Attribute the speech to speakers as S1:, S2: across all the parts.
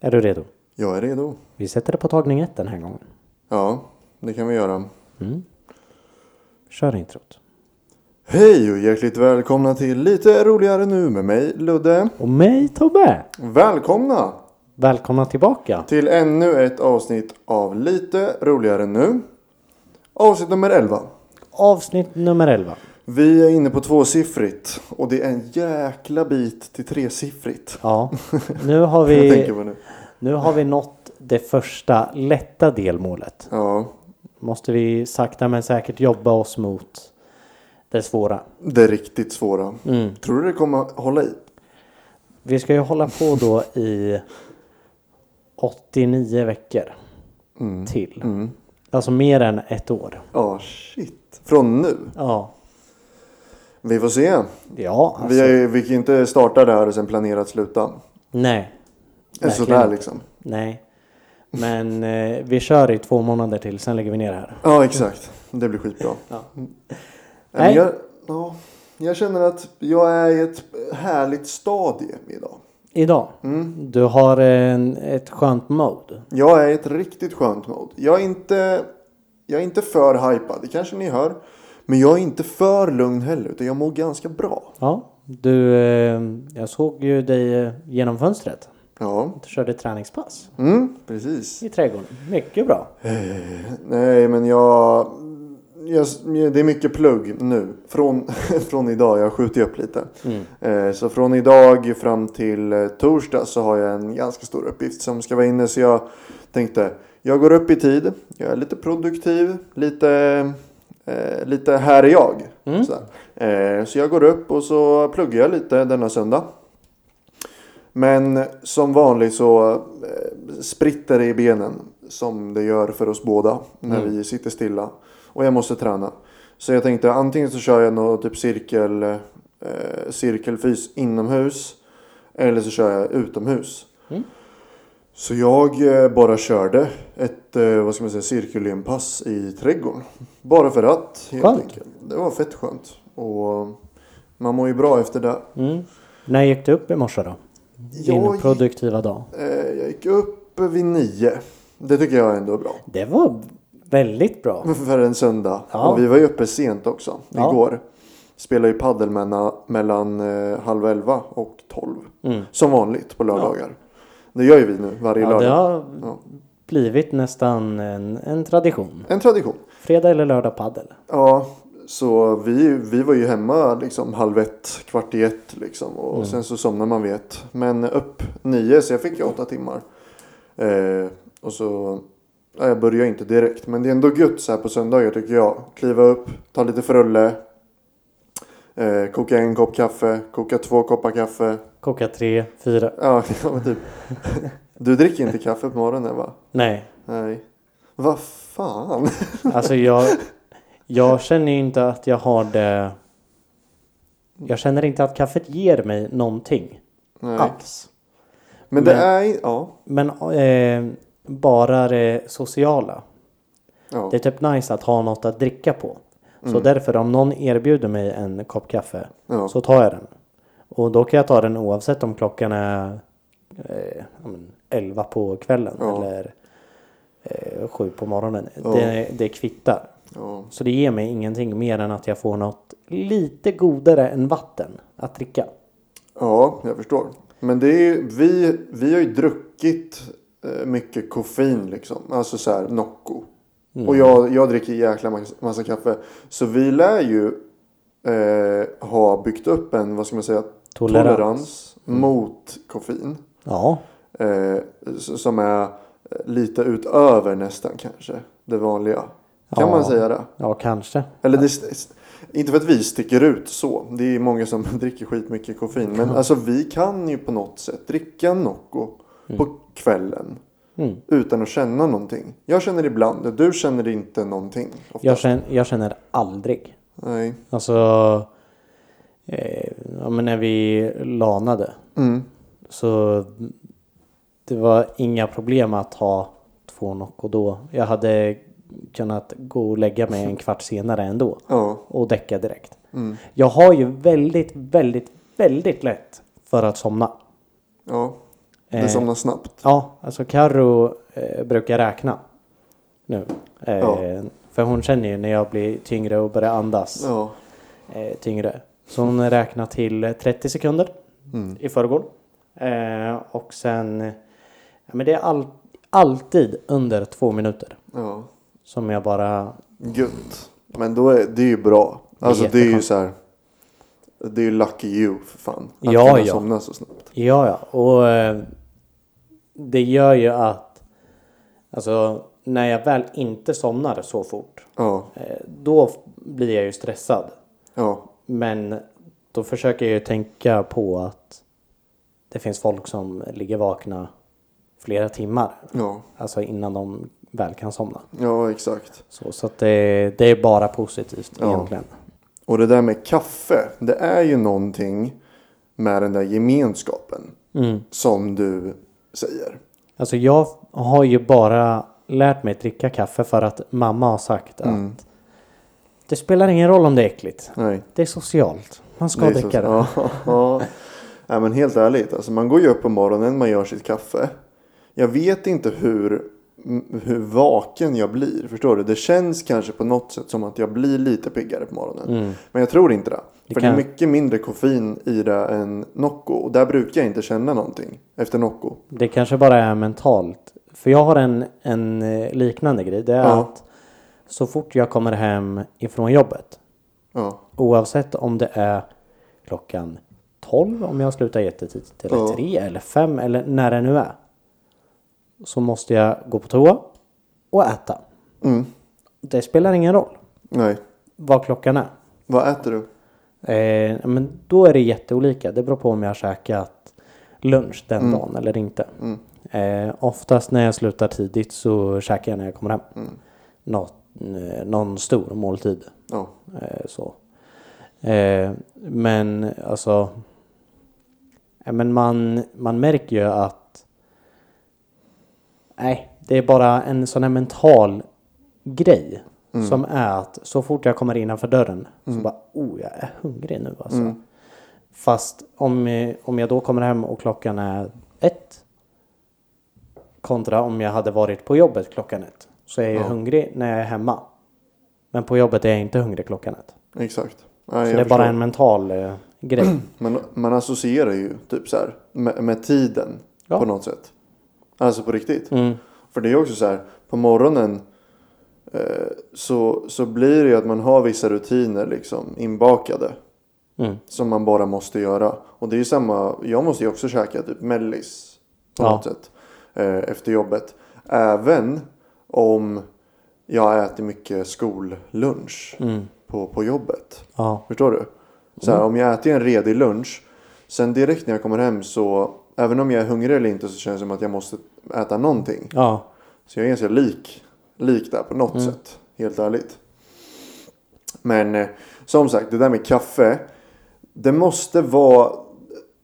S1: Är du redo?
S2: Jag är redo.
S1: Vi sätter det på tagning ett den här gången.
S2: Ja, det kan vi göra.
S1: Kör introt.
S2: Hej och hjärtligt välkomna till Lite roligare nu med mig Ludde.
S1: Och mig Tobbe!
S2: Välkomna
S1: Välkomna tillbaka!
S2: till ännu ett avsnitt av Lite roligare nu. Avsnitt nummer 11.
S1: Avsnitt nummer 11.
S2: Vi är inne på tvåsiffrigt och det är en jäkla bit till tresiffrigt.
S1: Ja, nu har
S2: Jag
S1: vi,
S2: tänker på nu.
S1: nu har vi nått det första lätta delmålet.
S2: Ja,
S1: Måste vi sakta men säkert jobba oss mot det svåra.
S2: det riktigt svåra. Tror du det kommer att hålla i?
S1: Vi ska ju hålla på då i 89 veckor
S2: Mm.
S1: till. Alltså mer än ett år.
S2: Ja, shit. Från nu?
S1: Ja,
S2: Vi får se.
S1: ja alltså,
S2: Vi, är, vi kan ju inte starta det här och sen planera att sluta.
S1: nej.
S2: Eller
S1: Verkligen
S2: sådär
S1: inte.
S2: liksom.
S1: Nej. Men eh, vi kör i två månader till, sen lägger vi ner det här.
S2: Ja, exakt. Det blir skitbra.
S1: Ja.
S2: Mm.
S1: Nej.
S2: Men jag, ja, jag känner att jag är i ett härligt stadie idag.
S1: Idag.
S2: Mm.
S1: Du har en, ett skönt mode.
S2: Jag är i ett riktigt skönt mode. Jag är inte, jag är inte för hypad, det kanske ni hör. Men jag är inte för lugn heller, utan jag mår ganska bra.
S1: Ja. Du, eh, jag såg ju dig eh, genom fönstret.
S2: Ja,
S1: Du körde träningspass
S2: mm, precis.
S1: i trädgården. Mycket bra.
S2: Nej, men jag... jag det är mycket plugg nu. Från, från idag, jag skjuter upp lite. Eh, Så från idag fram till eh, torsdag så har jag en ganska stor uppgift som ska vara inne. Så jag tänkte, jag går upp i tid. Jag är lite produktiv, lite, eh, lite här är jag.
S1: Mm.
S2: Sådär. Eh, Så jag går upp och så pluggar jag lite denna söndag. Men som vanligt så eh, spritter det i benen som det gör för oss båda när vi sitter stilla. Och jag måste träna. Så jag tänkte antingen så kör jag någon typ cirkel, eh, cirkelfys inomhus. Eller så kör jag utomhus.
S1: Mm.
S2: Så jag eh, bara körde ett eh, vad ska man säga, cirkelgenpass i trädgården. Bara för att. helt
S1: Skönt.
S2: enkelt. Det var fett skönt. Och eh, man mår ju bra efter det.
S1: Mm. När gick du upp i morse då? Din
S2: Jag gick-
S1: produktiva dag.
S2: Eh, Jag gick upp vid nio. Det tycker jag ändå är bra.
S1: Det var väldigt bra.
S2: För en söndag.
S1: Ja.
S2: Och vi var ju uppe sent också.
S1: Ja.
S2: Igår. Spelade ju padel mellan, mellan eh, halv elva och tolv. Som vanligt på lördagar. Det gör ju vi nu varje
S1: Mm. Ja, det
S2: lördag.
S1: har
S2: Ja.
S1: blivit nästan en, en tradition.
S2: En tradition.
S1: Fredag eller lördag paddel.
S2: Ja, så vi, vi var ju hemma liksom halv ett, kvart i ett liksom. Och
S1: Mm.
S2: sen så somnar man vid ett. Men upp nio, så jag fick ju åtta timmar. Eh, och så, ja, jag börjar inte direkt. Men det är ändå gött så här på söndagar tycker jag. Kliva upp, ta lite frulle. Eh, koka en kopp kaffe, koka två koppar kaffe.
S1: Koka tre, fyra.
S2: Ja, ja men typ. Du dricker inte kaffe på morgonen va?
S1: Nej,
S2: Nej. Vad fan?
S1: Alltså jag, jag känner ju inte att jag har det. Jag känner inte att kaffet ger mig någonting
S2: Nej.
S1: alls.
S2: Men det
S1: Men-
S2: är, ja.
S1: Men eh, bara det sociala.
S2: ja.
S1: Det är typ nice att ha något att dricka på. Så
S2: Mm.
S1: därför om någon erbjuder mig en kopp kaffe
S2: Ja.
S1: så tar jag den. Och då kan jag ta den oavsett om klockan är eh, ja, men 11 på kvällen
S2: Ja.
S1: eller eh, 7 på morgonen.
S2: Ja.
S1: Det, det kvittar.
S2: ja.
S1: Så det ger mig ingenting mer än att jag får något lite godare än vatten att dricka.
S2: Ja, jag förstår. Men det är ju, vi, vi har ju druckit eh, mycket koffein liksom. Alltså så här Nocco.
S1: Mm.
S2: Och jag, jag dricker jäkla massa, massa kaffe. Så vi lär ju eh, ha byggt upp en, vad ska man säga,
S1: Tolerans. Mm.
S2: mot koffein.
S1: Ja,
S2: Eh, s- som är eh, lite utöver nästan kanske det vanliga. Kan
S1: Ja.
S2: man säga det?
S1: ja kanske.
S2: Eller det, st- st- inte för att vi sticker ut så. Det är många som dricker skitmycket koffein. Men alltså vi kan ju på något sätt dricka Nocco på kvällen.
S1: Mm.
S2: Utan att känna någonting. Jag känner ibland. Du känner inte någonting. Oftast.
S1: Jag känner, jag känner aldrig.
S2: Nej.
S1: Alltså, eh, ja, men när vi lanade
S2: Mm.
S1: så det var inga problem att ha två Nocco då. Jag hade kunnat gå och lägga mig en kvart senare ändå.
S2: Ja.
S1: och däcka direkt. Jag har ju väldigt, väldigt, väldigt lätt för att somna.
S2: Ja.
S1: Eh.
S2: Det somnar snabbt.
S1: Ja, alltså Karo eh, brukar räkna nu. Eh,
S2: Ja.
S1: För hon känner ju när jag blir tyngre och börjar andas
S2: Ja.
S1: eh, tyngre. Så hon räknar till eh, 30 sekunder
S2: Mm.
S1: i förrgår. Eh, och sen, ja, men det är all, alltid under två minuter
S2: ja.
S1: som jag bara,
S2: Gött. Men då är det är ju bra. Alltså det är, ju
S1: jätteskönt.
S2: så här. Det är ju lucky you för fan. Att
S1: Ja,
S2: kunna
S1: ja.
S2: somna så snabbt.
S1: ja ja. Och eh, det gör ju att, alltså när jag väl inte somnar så fort,
S2: Ja.
S1: eh, då f- blir jag ju stressad.
S2: Ja.
S1: Men då försöker jag ju tänka på att det finns folk som ligger vakna flera timmar.
S2: Ja.
S1: Alltså innan de väl kan somna.
S2: Ja exakt.
S1: Så, så att det, det är bara positivt
S2: Ja.
S1: egentligen.
S2: Och det där med kaffe. Det är ju någonting med den där gemenskapen.
S1: Mm.
S2: Som du säger.
S1: Alltså jag har ju bara lärt mig dricka kaffe för att mamma har sagt att
S2: Mm.
S1: det spelar ingen roll om det är äckligt.
S2: Nej.
S1: Det är socialt. Man ska
S2: Det är så-
S1: dricka det.
S2: Ja, ja. Nej, men helt ärligt, alltså man går ju upp på morgonen, man gör sitt kaffe. Jag vet inte hur, m- hur vaken jag blir, förstår du? Det känns kanske på något sätt som att jag blir lite piggare på morgonen.
S1: Mm.
S2: Men jag tror inte det.
S1: Det
S2: för
S1: kan-
S2: det är mycket mindre koffein i det än Nocco. Och där brukar jag inte känna någonting efter Nocco.
S1: Det kanske bara är mentalt. För jag har en, en eh, liknande grej. Det är
S2: Ja.
S1: att så fort jag kommer hem ifrån jobbet.
S2: Ja,
S1: Oavsett om det är klockan 12 om jag slutar jättetidigt. Eller
S2: Ja.
S1: 3 eller 5 eller när det nu är. Så måste jag gå på toa och äta.
S2: mm.
S1: Det spelar ingen roll
S2: nej.
S1: vad klockan är.
S2: Vad äter du?
S1: Eh, men då är det jätteolika. Det beror på om jag har käkat lunch den dagen eller inte.
S2: Mm.
S1: Eh, oftast när jag slutar tidigt så käkar jag när jag kommer hem. Nå, eh, någon stor måltid.
S2: Ja,
S1: Eh, så. Eh, men alltså. Eh, men man, man märker ju att. Nej, det är bara en sån här mental grej. Som är att så fort jag kommer innanför dörren så bara oh jag är hungrig nu alltså. Fast om, eh, om jag då kommer hem och klockan är ett. Kontra om jag hade varit på jobbet klockan ett. Så är jag ju
S2: Ja.
S1: hungrig när jag är hemma. Men på jobbet är jag inte hungrig klockan ett.
S2: exakt.
S1: Så
S2: Nej,
S1: det är bara
S2: jag förstår. Mm.
S1: en mental eh, grej.
S2: Man, man associerar ju typ så här med, med tiden
S1: Ja.
S2: på något sätt. Alltså på riktigt.
S1: Mm.
S2: För det är också så här på morgonen eh, så, så blir det ju att man har vissa rutiner liksom inbakade
S1: Mm.
S2: som man bara måste göra. Och det är ju samma, jag måste ju också käka typ mellis på
S1: Ja.
S2: något sätt eh, efter jobbet. Även om jag äter mycket skollunch
S1: Mm.
S2: på, på jobbet.
S1: Ja.
S2: Förstår du? Så här, Om jag äter en redig lunch. Sen direkt när jag kommer hem så. Även om jag är hungrig eller inte så känns det som att jag måste äta någonting.
S1: ja.
S2: Så jag är ganska lik. Lik där på något sätt. Helt ärligt. Men eh, som sagt det där med kaffe. Det måste vara.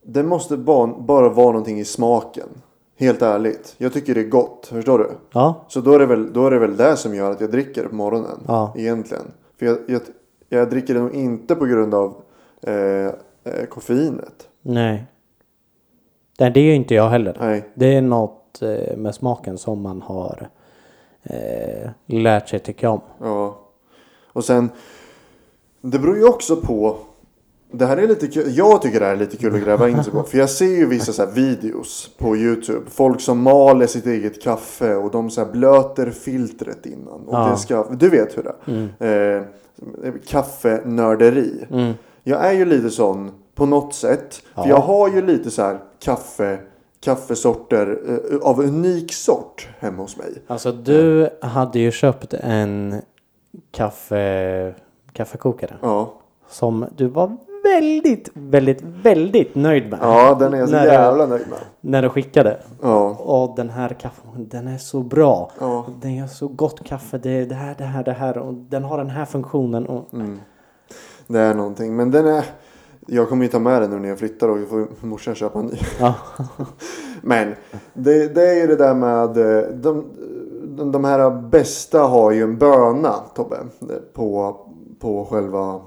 S2: Det måste bara, bara vara någonting i smaken. Helt ärligt. Jag tycker det är gott. Förstår du?
S1: Ja.
S2: Så då är, det väl, då är det väl det som gör att jag dricker det på morgonen.
S1: Ja.
S2: Egentligen. För jag, jag, jag dricker det nog inte på grund av eh, eh, koffeinet.
S1: Nej. Nej, det är ju inte jag heller.
S2: Nej.
S1: Det är något eh, med smaken som man har eh, lärt sig tycka om.
S2: Ja. Och sen. Det beror ju också på. Det här är lite kul. Jag tycker det här är lite kul att gräva in sig på. För jag ser ju vissa så här videos på YouTube. Folk som maler sitt eget kaffe och de så här blöter filtret innan. Och
S1: Ja.
S2: det ska, du vet hur det är. Eh, kaffenörderi. Jag är ju lite sån på något sätt. För jag har ju lite så här kaffe, kaffesorter eh, av unik sort hemma hos mig.
S1: Alltså du
S2: Mm.
S1: hade ju köpt en kaffe, kaffekokare.
S2: Ja,
S1: Som du var väldigt, väldigt, väldigt nöjd med.
S2: ja den är jag så
S1: När-
S2: jävla nöjd med.
S1: När du skickade.
S2: Ja,
S1: Åh, den här kaffen, den är så bra.
S2: ja.
S1: Den gör så gott kaffe. Det är det här, det här, det här. Och den har den här funktionen. Och...
S2: Mm. Det är någonting. Men den är... Jag kommer ju ta med den nu när jag flyttar och får morsan köpa en ny.
S1: Ja.
S2: Men det, det är ju det där med... eh, De, de, de här bästa har ju en böna, Tobbe. På, på själva...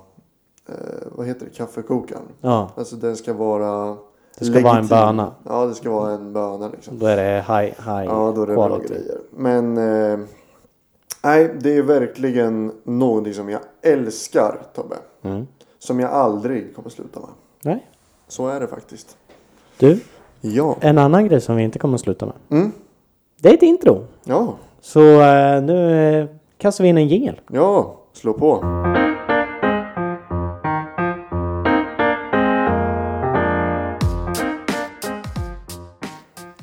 S2: Eh, vad heter det? Kaffekokaren.
S1: ja.
S2: Alltså den ska vara...
S1: Det ska vara en
S2: legitim.
S1: böna.
S2: Ja, det ska vara en böna liksom.
S1: Då är det high, high
S2: Ja, då är det bra
S1: quality.
S2: grejer. Men eh, nej, det är verkligen någonting som jag älskar Tobbe.
S1: Mm.
S2: Som jag aldrig kommer sluta med.
S1: Nej.
S2: Så är det faktiskt.
S1: Du,
S2: Ja.
S1: en annan grej som vi inte kommer att sluta med.
S2: Mm.
S1: Det är ett intro.
S2: Ja.
S1: Så eh, nu eh, kastar vi in en jingel.
S2: Ja, slå på.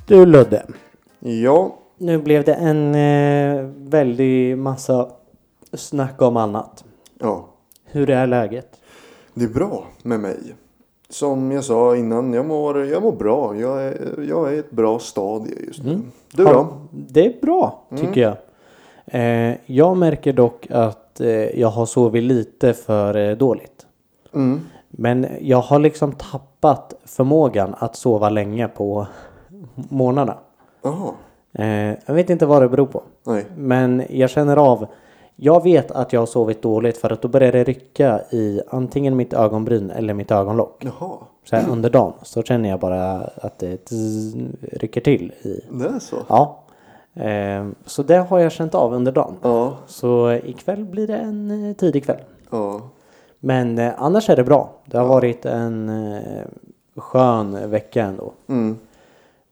S1: Du Ludde,
S2: Ja.
S1: nu blev det en eh, väldig massa snack om annat.
S2: Ja.
S1: Hur är läget?
S2: Det är bra med mig. Som jag sa innan, jag mår, jag mår bra. Jag är, jag är i ett bra stadie just nu.
S1: Mm.
S2: Du
S1: Ja,
S2: då?
S1: Det är bra tycker jag. Eh, jag märker dock att eh, jag har sovit lite för eh, dåligt.
S2: Mm.
S1: Men jag har liksom tappat förmågan att sova länge på morgnarna.
S2: Jaha.
S1: Eh, jag vet inte vad det beror på.
S2: Nej.
S1: Men jag känner av. Jag vet att jag har sovit dåligt för att då börjar det rycka i antingen mitt ögonbryn eller mitt ögonlock.
S2: Jaha.
S1: Så här under dagen så känner jag bara att det tz, rycker till i
S2: Det är så?
S1: Ja. Eh, så det har jag känt av under dagen.
S2: Ja.
S1: Så eh, ikväll blir det en eh, tidig kväll.
S2: Ja.
S1: Men eh, annars är det bra. Det har varit en eh, skön vecka ändå.
S2: Mm.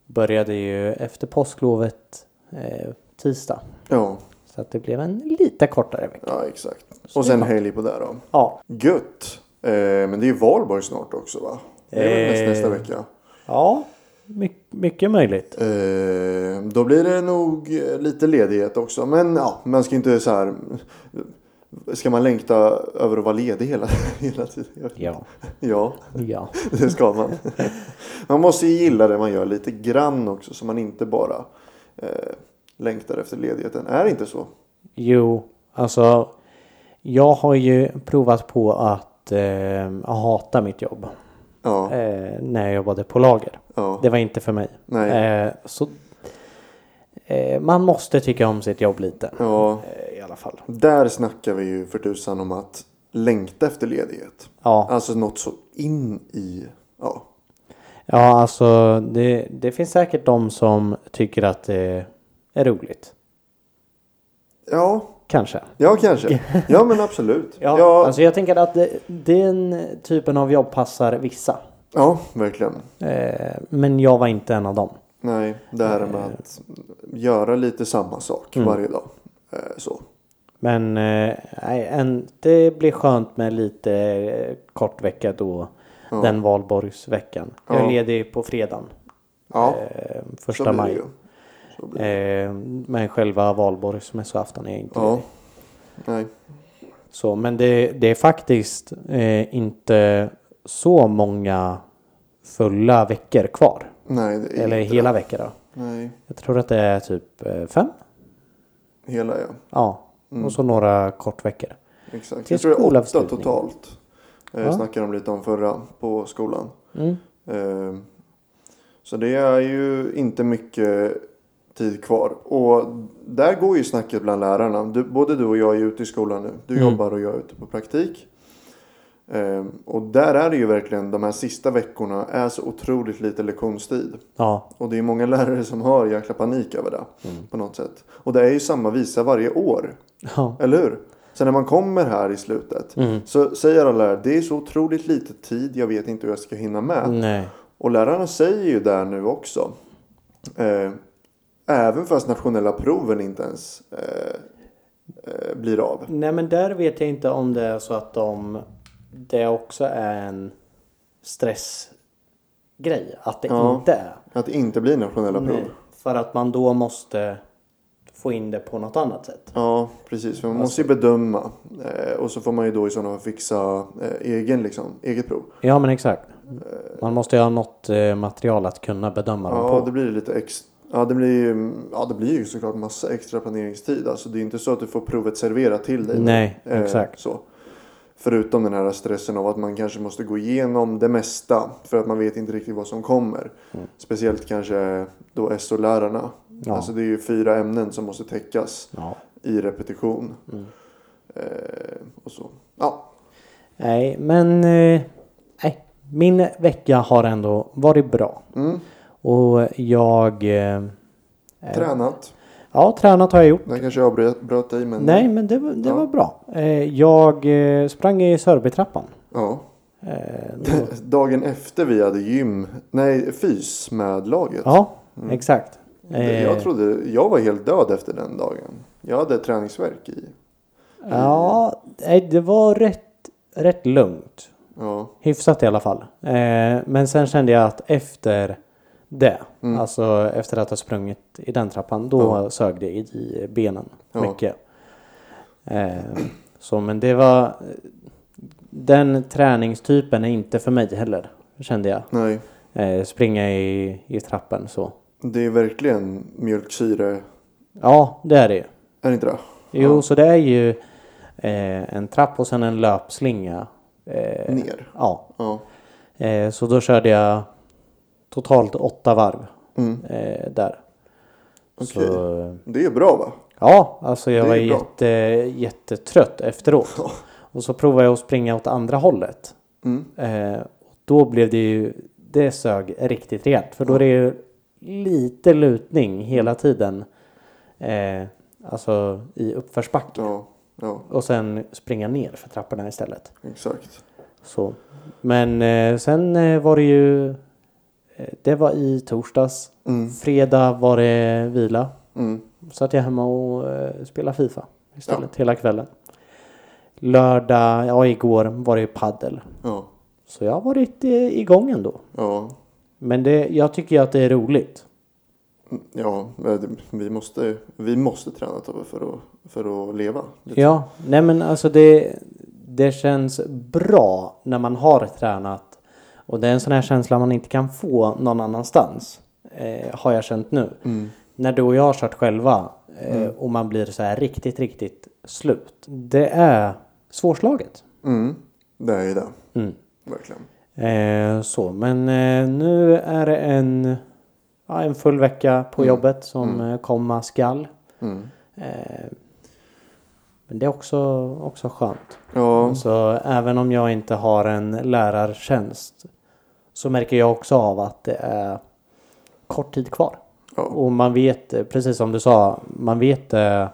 S1: Började ju efter påsklovet eh, tisdag.
S2: Ja.
S1: Så att det blev en lite kortare vecka.
S2: Ja, exakt. Och sen helg på det då.
S1: Ja,
S2: Gött. Eh, men det är ju valborg snart också va? Det är väl näst,
S1: Eh.
S2: nästa vecka.
S1: ja my- mycket möjligt.
S2: Eh, då blir det nog eh, lite ledighet också. Men ja, man ska inte så här. Ska man längta över att vara ledig hela, hela tiden? Jag vet
S1: Ja,
S2: inte. ja,
S1: ja.
S2: det ska man. man måste ju gilla det man gör lite grann också så man inte bara eh, längtar efter ledigheten. Är det inte så?
S1: Jo, alltså. Jag har ju provat på att eh, hata mitt jobb.
S2: Ja,
S1: eh, när jag jobbade på lager.
S2: ja,
S1: Det var inte för mig.
S2: nej,
S1: Eh, så, eh, man måste tycka om sitt jobb lite.
S2: ja.
S1: Eh, I alla fall.
S2: Där snackar vi ju för tusan om att längta efter ledighet.
S1: Ja,
S2: Alltså något så in i, ja,
S1: ja alltså det, det finns säkert de som tycker att det är roligt.
S2: ja,
S1: Kanske.
S2: Ja, kanske. Ja, men absolut.
S1: Ja,
S2: Ja, ja,
S1: Alltså jag tänker att det, den typen av jobb passar vissa.
S2: verkligen.
S1: Eh, men jag var inte en av dem.
S2: Nej, det här med att
S1: Eh.
S2: göra lite samma sak
S1: Mm.
S2: varje dag. Eh, Så.
S1: Men eh, nej, en, det blir skönt med lite eh, kort vecka då. Den valborgsveckan. Jag är
S2: Ja.
S1: ledig på fredagen.
S2: Ja,
S1: Eh,
S2: så
S1: första
S2: blir det
S1: maj.
S2: ju. Så blir det.
S1: Eh, men själva valborgsmässoafton är inte
S2: Ja.
S1: ledig.
S2: Nej.
S1: så. Men det, det är faktiskt eh, inte så många fulla veckor kvar.
S2: Nej, det är
S1: Eller
S2: inte
S1: hela
S2: det.
S1: veckor då.
S2: Nej,
S1: Jag tror att det är typ eh, fem.
S2: hela ja.
S1: Ja.
S2: Mm.
S1: Och så några kortveckor.
S2: Exakt.
S1: Till
S2: Jag tror det är åtta
S1: skolavslutning.
S2: totalt. Eh,
S1: Ja.
S2: Snackade de lite om förra på skolan.
S1: Mm.
S2: Eh, Så det är ju inte mycket tid kvar. Och där går ju snacket bland lärarna. Du, både du och jag är ute i skolan nu. Du
S1: Mm.
S2: jobbar och jag är ute på praktik. Eh, Och där är det ju verkligen de här sista veckorna är så otroligt lite lektionstid.
S1: Ja.
S2: Och det är många lärare som har jäkla panik över det.
S1: Mm.
S2: På något sätt. Och det är ju samma visa varje år.
S1: Ja.
S2: Eller hur? Så när man kommer här i slutet.
S1: Mm.
S2: Så säger alla lärare, det är så otroligt lite tid. Jag vet inte hur jag ska hinna med.
S1: Nej.
S2: Och lärarna säger ju där nu också. Eh, även fast nationella proven inte ens eh, eh, blir av.
S1: Nej men där vet jag inte om det är så att de Det också är en stressgrej. Att det
S2: Ja.
S1: inte är.
S2: Att det inte blir nationella prov.
S1: Nej, för att man då måste få in det på något annat sätt.
S2: Ja, precis. För man
S1: Alltså-
S2: måste ju bedöma. Eh, och så får man ju då i sådana fall fixa eh, egen, liksom, eget prov.
S1: Ja men exakt. Man måste ju ha något eh, material att kunna bedöma dem
S2: Ja,
S1: på.
S2: det blir lite ex- ja, det blir, ju- ja, det blir ju såklart massa extra planeringstid. Alltså det är inte så att du får provet serverat till dig.
S1: Nej, exakt.
S2: Eh, Så. Förutom den här stressen av att man kanske måste gå igenom det mesta för att man vet inte riktigt vad som kommer. Speciellt kanske då SO-lärarna.
S1: Mm. Ja.
S2: Alltså det är ju fyra ämnen som måste täckas
S1: Ja.
S2: i repetition.
S1: Mm.
S2: Eh, och så. Ja,
S1: Nej men... eh, Nej. Min vecka har ändå varit bra.
S2: Mm.
S1: Och jag... eh,
S2: Tränat.
S1: Ja, tränat har jag gjort.
S2: Där kanske jag avbröt dig men...
S1: Nej, men det, var- det
S2: Ja.
S1: var bra. Eh, Jag eh, sprang i Sörbytrappan.
S2: Ja.
S1: Eh,
S2: Dagen efter vi hade gym, nej fys med laget.
S1: Ja, exakt. Eh,
S2: Mm. Jag trodde, jag var helt död efter den dagen. Jag hade träningsvärk i.
S1: Ja, nej, det var rätt, rätt lugnt.
S2: Ja.
S1: Hyfsat i alla fall. Eh, men sen kände jag att efter det,
S2: Mm.
S1: alltså efter att ha sprungit i den trappan, då sög det i benen
S2: Ja.
S1: mycket. Eh, så men det var... eh, Den träningstypen är inte för mig heller, kände jag.
S2: Nej.
S1: Eh, springa i, i trappen så.
S2: Det är verkligen mjölksyre.
S1: Ja, det är det ju.
S2: Är det inte det?
S1: Jo, så det är ju eh, en trapp och sen en löpslinga. Eh,
S2: Ner.
S1: ja,
S2: Ja.
S1: Eh, så då körde jag totalt åtta varv
S2: Mm.
S1: eh, där.
S2: Okej.
S1: Så,
S2: Det är bra va?
S1: ja, alltså jag
S2: Det är
S1: var
S2: bra.
S1: jätte, jättetrött efteråt. Och så provade jag att springa åt andra hållet.
S2: Mm.
S1: Eh, och då blev det ju, det sög riktigt rejält. För då är det ju lite lutning hela tiden. Eh, alltså i uppförsbacke.
S2: Ja. Ja.
S1: Och sen springa ner för trapporna istället.
S2: Exakt.
S1: Så. Men eh, sen eh, var det ju... eh, Det var i torsdags.
S2: Mm.
S1: Fredag var det vila.
S2: Mm.
S1: Satt jag hemma och eh, spelade Fifa istället hela kvällen. Lördag, ja igår var det ju paddel.
S2: Ja.
S1: Så jag har varit eh, igång ändå.
S2: Ja.
S1: Men det, jag tycker ju att det är roligt.
S2: Mm, Ja, men vi måste, vi måste träna Tobbe för att, för att leva.
S1: Ja, nej men alltså det, det känns bra när man har tränat. Och det är en sån här känsla man inte kan få någon annanstans. Eh, har jag känt nu.
S2: Mm.
S1: När du och jag har kört själva eh, och man blir så här riktigt, riktigt slut. Det är svårslaget.
S2: Mm. Det är ju det.
S1: Mm.
S2: Verkligen.
S1: Eh, så, men eh, nu är det en, ja, en full vecka på jobbet som eh, komma skall.
S2: Mm.
S1: Eh, men det är också, också skönt.
S2: Ja.
S1: Så även om jag inte har en lärartjänst så märker jag också av att det är kort tid kvar.
S2: ja.
S1: Och man vet, eh, precis som du sa, man vet eh,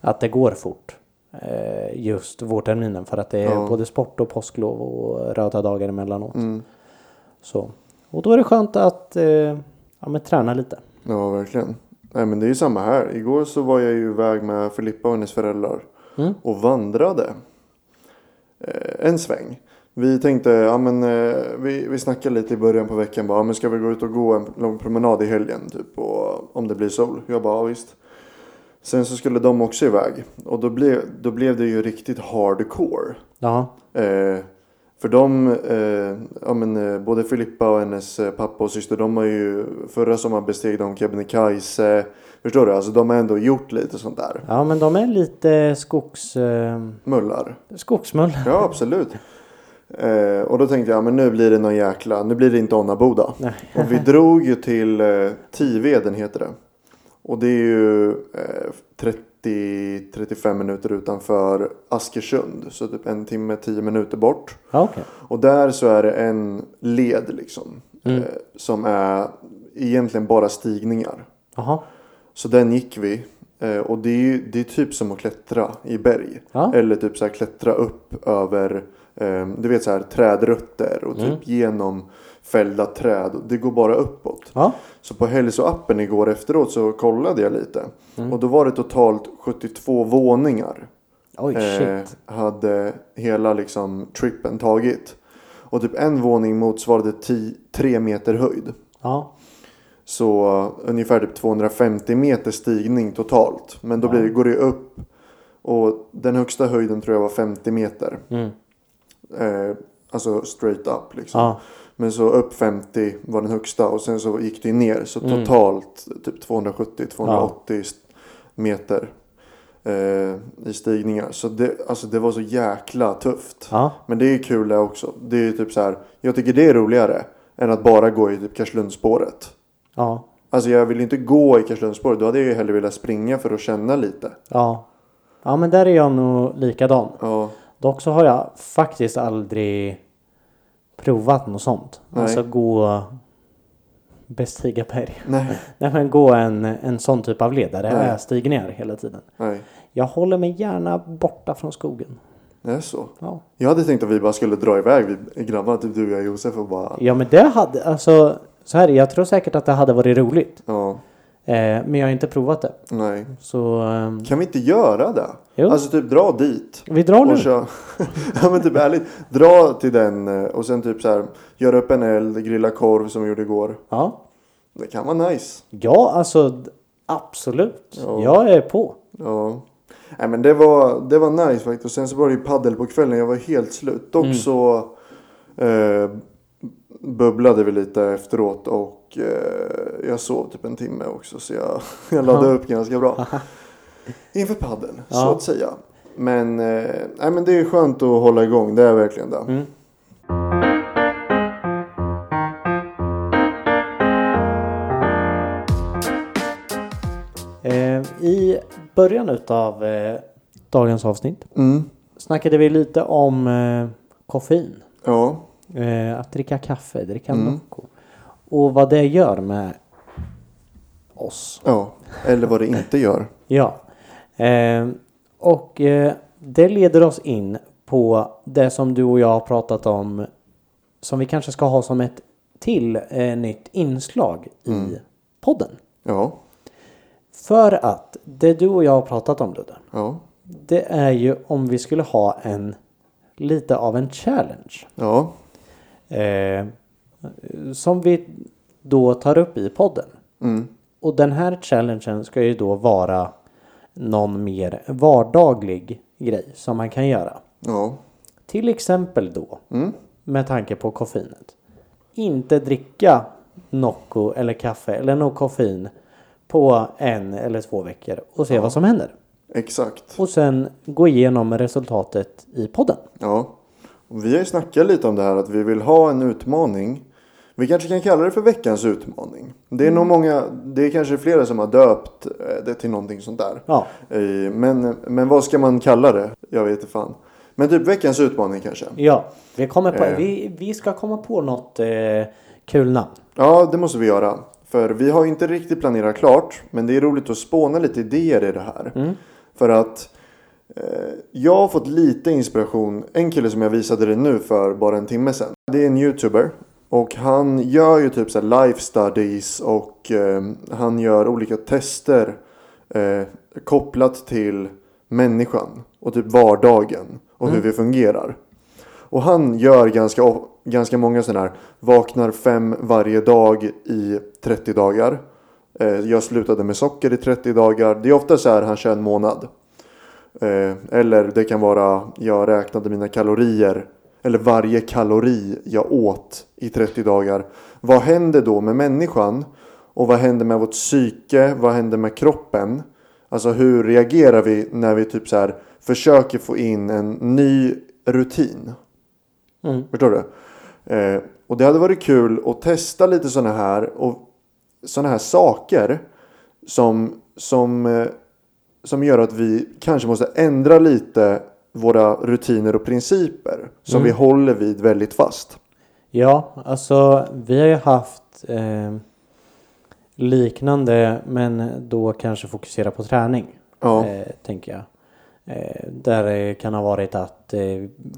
S1: att det går fort. eh, Just vårterminen för att det är
S2: Ja.
S1: både sport och påsklov och röda dagar emellanåt.
S2: Mm.
S1: Så. Och då är det skönt att eh, ja, men träna lite.
S2: Ja, verkligen. Nej, men det är ju samma här. Igår så var jag ju iväg med Filippa och hennes föräldrar
S1: Mm.
S2: och vandrade eh, en sväng. Vi tänkte, ja men eh, vi, vi snackade lite i början på veckan bara, ja, men ska vi gå ut och gå en lång promenad i helgen typ och om det blir sol? Jag bara, ja, visst. Sen så skulle de också iväg och då blev, då blev det ju riktigt hardcore.
S1: Ja,
S2: Eh, för de, eh, ja, men, eh, både Filippa och hennes eh, pappa och syster, de har ju förra sommaren besteg de Kebnekaise. Förstår du? Alltså de har ändå gjort lite sånt där.
S1: ja men de är lite skogs, eh,
S2: Mullar.
S1: skogsmull.
S2: Ja, absolut. Eh, och då tänkte jag, men nu blir det någon jäkla, nu blir det inte Onnaboda.
S1: Nej.
S2: Och vi drog ju till eh, Tiveden heter det. Och det är ju eh, 30-35 minuter utanför Askersund. Så typ en timme, 10 minuter bort.
S1: Ja, okej.
S2: Och där så är det en led liksom.
S1: Mm.
S2: Eh, som är egentligen bara stigningar.
S1: Jaha.
S2: Så den gick vi. Eh, och det är, ju, det är typ som att klättra i berg.
S1: Ja.
S2: Eller typ så här klättra upp över eh, du vet så här trädrötter och
S1: Mm.
S2: typ genom fällda träd. Det går bara uppåt.
S1: Ja.
S2: Så på hälsoappen igår efteråt så kollade jag lite.
S1: Mm.
S2: Och då var det totalt 72 våningar
S1: Oj, shit.
S2: eh, hade hela liksom trippen tagit. Och typ en våning motsvarade 10 tre meter höjd.
S1: Ja.
S2: Så eh, ungefär typ 250 meter stigning totalt. Men då blir, det- går det ju upp. Och den högsta höjden tror jag var 50 meter.
S1: Mm.
S2: Eh, alltså straight up liksom.
S1: Ja.
S2: Men så upp 50 var den högsta och sen så gick det ju ner. Så totalt typ 270-280 meter eh, i stigningar. Så det, alltså det var så jäkla tufft.
S1: Ja.
S2: Men det är ju kul det också. Det är ju typ så här, jag tycker det är roligare än att bara gå i typ Karlslundsspåret.
S1: Ja.
S2: Alltså jag vill inte gå i Karlslundsspåret, då hade jag ju hellre velat springa för att känna lite.
S1: Ja. Ja men där är jag nog likadan.
S2: Ja,
S1: Dock så har jag faktiskt aldrig provat något sånt.
S2: Nej.
S1: Alltså gå... Bestiga berg.
S2: Nej,
S1: Nej men gå en, en sån typ av led där det
S2: Nej.
S1: är stigningar hela tiden.
S2: nej.
S1: Jag håller mig gärna borta från skogen.
S2: Det är så.
S1: Ja.
S2: Jag hade tänkt att vi bara skulle dra iväg vi grabbarna, typ du och jag Josef och bara...
S1: Ja men det hade, alltså så här, jag tror säkert att det hade varit roligt.
S2: Ja,
S1: Eh, men jag har inte provat det.
S2: nej.
S1: Så ehm,
S2: Kan vi inte göra det?
S1: Jo.
S2: Alltså typ dra dit.
S1: vi drar nu.
S2: Och kör. ja men typ ärligt. Dra till den eh, och sen typ så här. Göra upp en eld, grilla korv som vi gjorde igår.
S1: Ja.
S2: Det kan vara nice.
S1: ja, alltså d- absolut.
S2: Ja.
S1: Jag är på.
S2: Ja. Nej men det var, det var nice faktiskt. Och sen så var det ju paddel på kvällen. Jag var helt slut. Dock
S1: Mm.
S2: så eh, bubblade vi lite efteråt. Och eh, jag sov typ en timme också. Så jag, jag laddade upp ganska bra. Inför paddeln så
S1: Ja.
S2: att säga. Men, eh, nej, men det är skönt att hålla igång. Det är verkligen det.
S1: Mm. Eh, I början av eh, dagens avsnitt
S2: Mm.
S1: snackade vi lite om eh, koffein.
S2: Ja.
S1: Eh, att dricka kaffe, dricka
S2: Mm.
S1: Nocco. Och vad det gör med oss.
S2: ja. Eller vad det inte gör.
S1: Ja. Eh, och eh, det leder oss in på det som du och jag har pratat om. Som vi kanske ska ha som ett till eh, nytt inslag i podden.
S2: Ja.
S1: För att det du och jag har pratat om Ludde.
S2: Ja.
S1: Det är ju om vi skulle ha en lite av en challenge.
S2: Ja.
S1: Eh, som vi då tar upp i podden.
S2: Mm.
S1: Och den här challengen ska ju då vara någon mer vardaglig grej som man kan göra.
S2: Ja.
S1: Till exempel då,
S2: Mm.
S1: med tanke på koffeinet. Inte dricka Nocco eller kaffe eller något koffein på en eller två veckor och se vad som händer.
S2: Exakt.
S1: Och sen gå igenom resultatet i podden.
S2: Ja. Och Vi har ju snackat lite om det här att vi vill ha en utmaning. Vi kanske kan kalla det för veckans utmaning. Det är nog många, det är kanske flera som har döpt eh, det till någonting sånt där.
S1: Ja,
S2: Eh, Men, men vad ska man kalla det? Jag vet inte fan. Men typ veckans utmaning kanske.
S1: ja. Vi, kommer på,
S2: Eh.
S1: vi, vi ska komma på något eh, kul namn.
S2: Ja, det måste vi göra. För vi har inte riktigt planerat klart. Men det är roligt att spåna lite idéer i det här. För att eh, jag har fått lite inspiration. En kille som jag visade dig nu för bara en timme sedan. Det är en youtuber. Och han gör ju typ så här life studies och eh, han gör olika tester eh, kopplat till människan och typ vardagen och hur vi fungerar. Och han gör ganska, of- ganska många sådana här. Vaknar fem varje dag i 30 dagar. Eh, jag slutade med socker i 30 dagar. Det är ofta så här han kör en månad. Eh, eller det kan vara jag räknade mina kalorier. Eller varje kalori jag åt i 30 dagar. Vad händer då med människan? Och vad händer med vårt psyke? Vad händer med kroppen? Alltså hur reagerar vi när vi typ så här försöker få in en ny rutin?
S1: Mm.
S2: Förstår du? Eh, och det hade varit kul att testa lite sådana här och sådana här saker som, som, eh, som gör att vi kanske måste ändra lite våra rutiner och principer som
S1: Mm.
S2: vi håller vid väldigt fast.
S1: Ja, alltså vi har ju haft eh, liknande men då kanske fokusera på träning.
S2: Ja,
S1: Eh, tänker jag. Eh, där det kan ha varit att eh,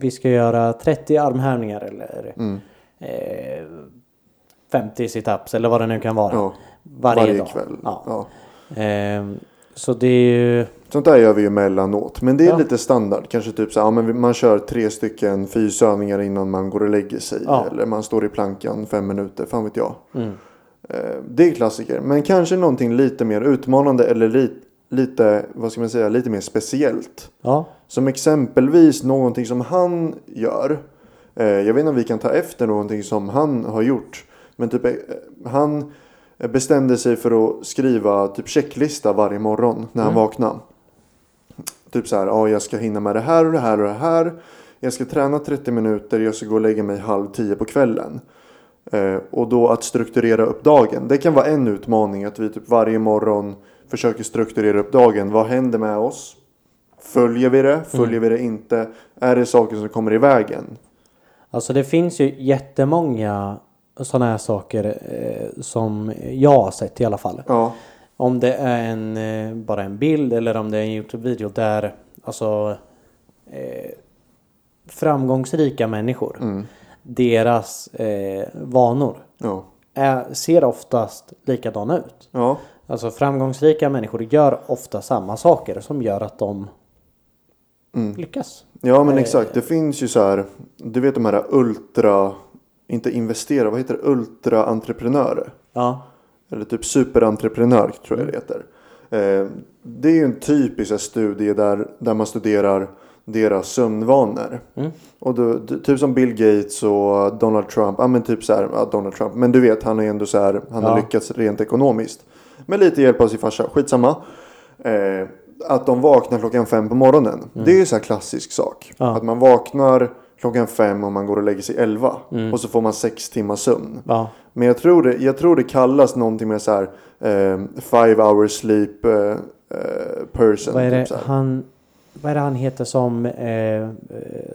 S1: vi ska göra 30 armhävningar eller
S2: Mm.
S1: eh, 50 situps eller vad det nu kan vara.
S2: ja.
S1: varje, dag.
S2: kväll.
S1: Ja.
S2: Ja.
S1: Eh, så det är ju...
S2: Sånt där gör vi ju emellanåt. Men det är
S1: Ja.
S2: lite standard. Kanske typ så här, ja, men man kör tre stycken fysövningar innan man går och lägger sig.
S1: Ja.
S2: Eller man står i plankan fem minuter, fan vet jag.
S1: Mm,
S2: Eh, Det är klassiker. Men kanske någonting lite mer utmanande eller li- lite, vad ska man säga, lite mer speciellt.
S1: ja.
S2: Som exempelvis någonting som han gör. Eh, Jag vet inte om vi kan ta efter någonting som han har gjort. Men typ, eh, han bestämde sig för att skriva typ checklista varje morgon när han vaknade. Typ så här, ja jag ska hinna med det här och det här och det här. Jag ska träna 30 minuter, jag ska gå och lägga mig halv tio på kvällen. Eh, och då att strukturera upp dagen. Det kan vara en utmaning att vi typ varje morgon försöker strukturera upp dagen. Vad händer med oss? Följer vi det? Följer vi det inte? Är det saker som kommer i vägen?
S1: Alltså det finns ju jättemånga sådana här saker eh, som jag har sett i alla fall.
S2: Ja.
S1: Om det är en, eh, bara en bild eller om det är en Youtube-video där alltså eh, framgångsrika människor, deras eh, vanor
S2: Ja.
S1: är, ser oftast likadana ut.
S2: Ja.
S1: Alltså framgångsrika människor gör ofta samma saker som gör att de lyckas.
S2: Ja men exakt. Det finns ju så här. Du vet de här ultra. Inte investera. Vad heter det? Ultra-entreprenörer.
S1: Ja,
S2: Eller typ superentreprenör tror
S1: Mm.
S2: jag det heter. Eh, det är ju en typisk så här studie där, där man studerar deras sömnvanor.
S1: Mm.
S2: Och då, d- typ som Bill Gates och Donald Trump. Ja men typ så här, ja, Donald Trump. Men du vet han är ändå så här, han har
S1: Ja.
S2: lyckats rent ekonomiskt. Med lite hjälp av sin farsa, skitsamma. Eh, att de vaknar klockan fem på morgonen. Det är ju så här klassisk sak.
S1: Mm. Ja.
S2: Att man vaknar klockan fem och man går och lägger sig elva.
S1: Mm.
S2: Och så får man sex timmars sömn.
S1: ja,
S2: Men jag tror det, jag tror det kallas någonting med så här eh, five hour sleep eh, eh, person.
S1: vad är
S2: typ så
S1: det
S2: här.
S1: han, vad är det han heter som eh, eh,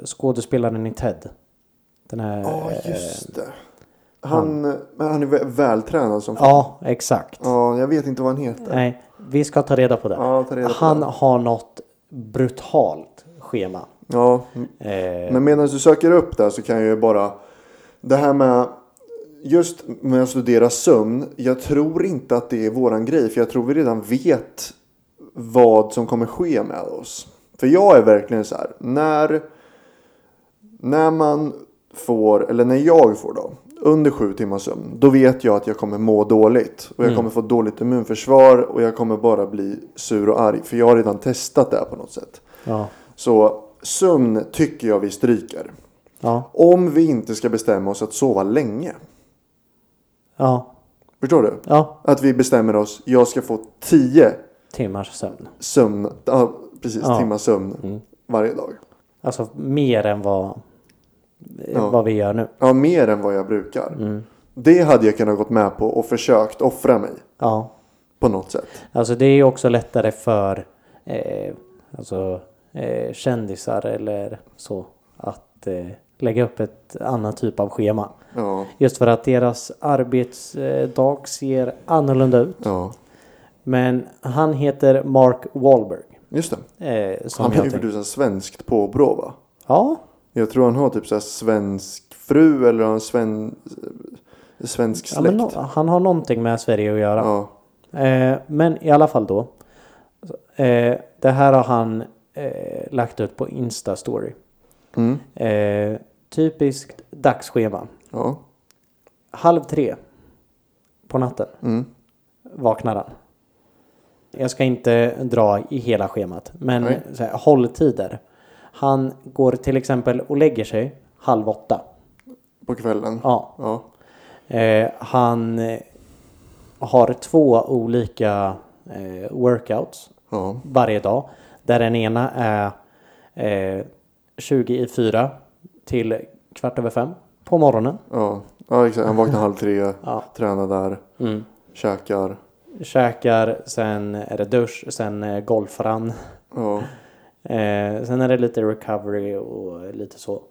S1: skådespelaren i Ted? Den här...
S2: Ja, just det. Han,
S1: eh, han.
S2: men han är vä- vältränad som fan.
S1: Ja, exakt.
S2: Ja, jag vet inte vad han heter.
S1: Nej, vi ska ta reda på det.
S2: Ja, ta reda på
S1: han
S2: det.
S1: har något brutalt schema.
S2: Ja,
S1: Eh,
S2: men medan du söker upp det här så kan jag ju bara. Det här med. Just med att studera sömn. Jag tror inte att det är våran grej. För jag tror vi redan vet vad som kommer ske med oss. För jag är verkligen så här. När, när man får, eller när jag får då, under sju timmars sömn. Då vet jag att jag kommer må dåligt. Och jag kommer få dåligt immunförsvar. Och jag kommer bara bli sur och arg. För jag har redan testat det här på något sätt.
S1: ja,
S2: Så sömn tycker jag vi stryker.
S1: ja,
S2: Om vi inte ska bestämma oss att sova länge.
S1: ja,
S2: Förstår du?
S1: ja.
S2: Att vi bestämmer oss, jag ska få 10
S1: Timmars sömn.
S2: sömn, ja, precis,
S1: Ja. Mm.
S2: timmars sömn varje dag.
S1: Alltså mer än vad,
S2: Ja.
S1: vad vi gör nu.
S2: Ja, mer än vad jag brukar.
S1: Mm.
S2: Det hade jag kunnat gått med på och försökt offra mig
S1: Ja.
S2: på något sätt.
S1: Alltså det är ju också lättare för eh, alltså, eh, kändisar eller så att eh, lägga upp ett annat typ av schema.
S2: Ja,
S1: Just för att deras arbetsdag ser annorlunda ut.
S2: ja.
S1: Men han heter Mark Wahlberg.
S2: just det.
S1: Eh, som
S2: Han
S1: jag
S2: har ju för
S1: tänker-
S2: tusan svenskt påbrå va?
S1: Ja,
S2: Jag tror han har typ så här svensk fru eller har en sven... svensk
S1: ja men
S2: släkt.
S1: nå- han har någonting med Sverige att göra.
S2: ja.
S1: Eh, men i alla fall då. Eh, det här har han eh, lagt ut på Insta-story.
S2: Mm.
S1: Eh, typiskt dagsschema.
S2: ja.
S1: Halv tre på natten
S2: Mm.
S1: vaknar han. Jag ska inte dra i hela schemat, men
S2: Nej.
S1: så här, hålltider. Han går till exempel och lägger sig halv åtta.
S2: På kvällen.
S1: Ja.
S2: Ja.
S1: Eh, han eh, har två olika eh, workouts
S2: Ja.
S1: varje dag. Där den ena är eh, 20 i fyra till kvart över fem på morgonen.
S2: Ja. ja exakt. Han vaknar halv tre.
S1: Ja.
S2: Tränar där. Käkar.
S1: Käkar, sen är det dusch, sen eh, golfar han.
S2: Ja.
S1: Eh, sen är det lite recovery och lite så.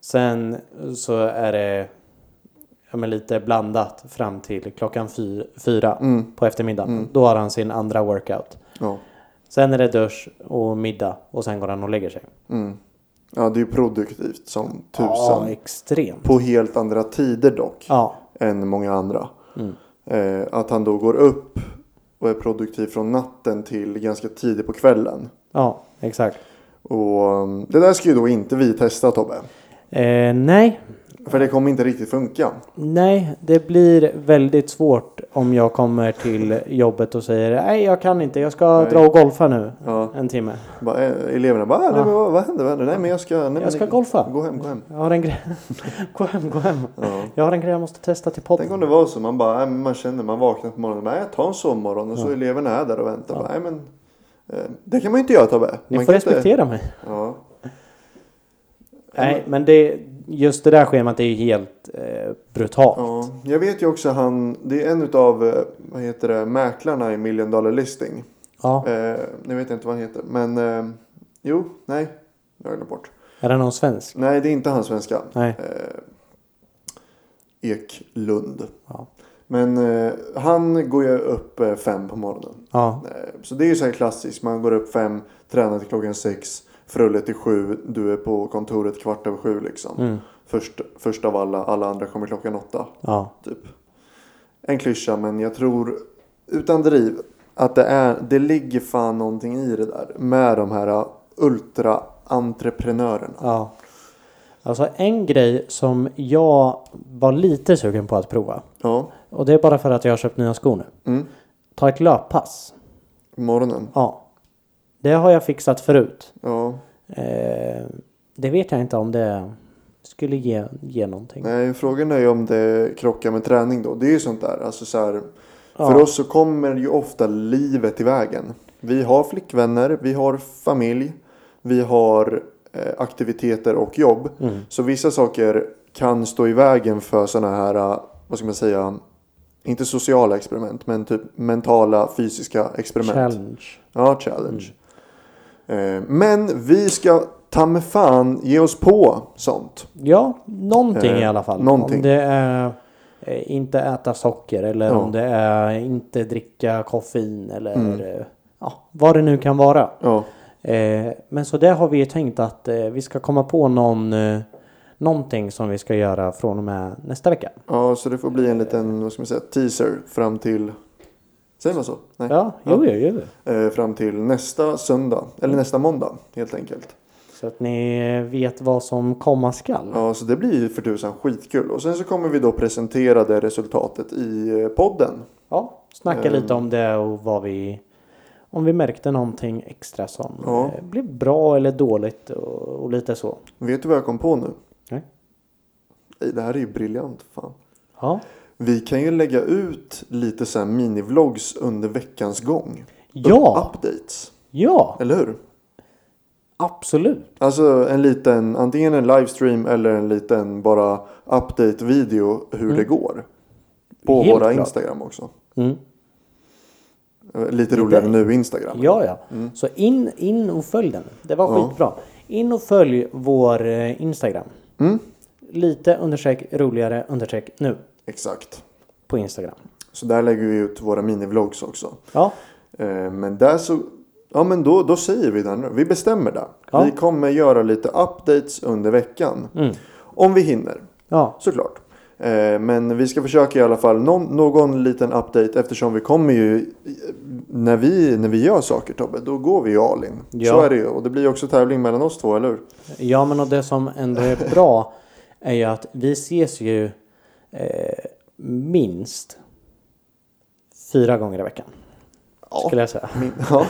S1: Sen så är det ja, men lite blandat fram till klockan fy- fyra
S2: Mm.
S1: på eftermiddagen. Då har han sin andra workout.
S2: Ja.
S1: Sen är det dusch och middag och sen går han och lägger sig.
S2: Mm. Ja det är ju produktivt som tusan.
S1: Ja, extremt.
S2: På helt andra tider dock.
S1: Ja, Mm.
S2: Än många andra. Eh, att han då går upp. Och är produktiv från natten till ganska tidigt på kvällen.
S1: ja, exakt.
S2: Och um, det där ska ju då inte vi testa Tobbe.
S1: Eh, nej,
S2: För det kommer inte riktigt funka.
S1: nej, det blir väldigt svårt om jag kommer till jobbet och säger nej, jag kan inte, jag ska
S2: Nej.
S1: dra och golfa nu
S2: Ja.
S1: en timme.
S2: Bara, eh, eleverna bara, ah, nej,
S1: Ja.
S2: men vad, vad händer? Vad händer? Nej men jag ska... Nej, men
S1: Jag ska
S2: ni-
S1: golfa.
S2: Gå hem, gå hem.
S1: Jag har en grej. gå hem, gå hem.
S2: Ja.
S1: Jag har en grej jag måste testa till podden.
S2: Tänk om det var så. Man bara, äh, man känner, man vaknar på morgonen. Bara, äh, ta en sovmorgon. Och så eleverna är där och väntar. Bara, äh, men, eh, det kan man ju inte göra Tobbe.
S1: Ni
S2: man
S1: får
S2: kan inte-
S1: respektera mig.
S2: Ja.
S1: Nej, men det, just det där schemat är ju helt eh, brutalt.
S2: ja. Jag vet ju också han. Det är en utav, eh, vad heter det, mäklarna i Million Dollar Listing.
S1: Ja.
S2: Eh, nu vet jag inte vad han heter. Men, eh, jo, nej. Jag har glömt bort.
S1: Är det någon svensk?
S2: Nej, det är inte han svenska. Eh,
S1: Nej.
S2: Eklund.
S1: Ja.
S2: Men eh, han går ju upp eh, fem på morgonen.
S1: Ja.
S2: Eh, Så det är ju så här klassiskt. Man går upp fem, tränar till klockan sex, frullet till sju, du är på kontoret kvart över sju liksom.
S1: Mm.
S2: Först, först av alla, alla andra kommer klockan åtta.
S1: Ja.
S2: Typ. En klyscha men jag tror utan driv att det, är, det ligger fan någonting i det där med de här uh, ultra-entreprenörerna.
S1: Ja. Alltså en grej som jag var lite sugen på att prova.
S2: Ja,
S1: Och det är bara för att jag har köpt nya skor nu.
S2: Mm.
S1: Ta ett löppass.
S2: morgonen.
S1: Ja. Det har jag fixat förut.
S2: Ja,
S1: Eh, det vet jag inte om det skulle ge, ge någonting.
S2: nej frågan är ju om det krockar med träning då. Det är ju sånt där. Alltså så här,
S1: Ja.
S2: För oss så kommer ju ofta livet i vägen. Vi har flickvänner, vi har familj, vi har eh, aktiviteter och jobb.
S1: Mm.
S2: Så vissa saker kan stå i vägen för sådana här, eh, vad ska man säga, inte sociala experiment, men typ mentala, fysiska experiment.
S1: Challenge.
S2: Ja, challenge. Eh, men vi ska ta med fan ge oss på sånt.
S1: Ja, någonting
S2: Eh,
S1: i alla fall.
S2: någonting.
S1: Om det är eh, inte äta socker eller
S2: Ja.
S1: om det är inte dricka koffein eller
S2: Mm.
S1: eh, ja, vad det nu kan vara.
S2: Ja,
S1: Eh, men så där har vi ju tänkt att eh, vi ska komma på någon, eh, någonting som vi ska göra från och med nästa vecka.
S2: ja, så det får bli en liten, vad ska man säga, teaser fram till... Säger man så? Nej.
S1: Ja, jo, jo, jo.
S2: Eh, fram till nästa söndag.
S1: Mm.
S2: Eller nästa måndag helt enkelt.
S1: Så att ni eh, vet vad som komma skall.
S2: Ja, så det blir ju för tusan skitkul. Och sen så kommer vi då presentera det resultatet i eh, podden.
S1: Ja, snacka
S2: Ehm.
S1: lite om det och vad vi... Om vi märkte någonting extra som
S2: Ja.
S1: eh, blev bra eller dåligt och, och lite så.
S2: Vet du vad jag kom på nu?
S1: Nej.
S2: Ej, det här är ju briljant. Fan.
S1: Ja.
S2: Vi kan ju lägga ut lite så här minivlogs under veckans gång.
S1: Ja.
S2: Updates.
S1: Ja,
S2: Eller hur?
S1: absolut.
S2: Alltså en liten, antingen en livestream eller en liten bara update-video hur det går. På
S1: Mm. Helt
S2: våra
S1: klart.
S2: Instagram också.
S1: Mm.
S2: Eh, Lite roligare nu Instagram.
S1: Ja, ja. Så in, in och följ den. Det var
S2: Mm. Ja.
S1: skitbra. In och följ vår eh, Instagram.
S2: Mm.
S1: Lite understreck roligare understreck nu
S2: Exakt.
S1: på Instagram.
S2: Så där lägger vi ut våra minivlogs också.
S1: Ja,
S2: Eh, Men där så... Ja men då, då säger vi det nu. Vi bestämmer det.
S1: Ja.
S2: Vi kommer göra lite updates under veckan.
S1: Mm.
S2: Om vi hinner.
S1: ja,
S2: Såklart. Eh, Men vi ska försöka i alla fall någon, någon liten update eftersom vi kommer ju... När vi, när vi gör saker Tobbe, då går vi ju all in.
S1: Ja.
S2: Så är det ju. Och det blir ju också tävling mellan oss två, eller hur?
S1: ja, men och det som ändå är bra är ju att vi ses ju eh, minst fyra gånger i veckan. Skulle jag säga.
S2: Min, ja.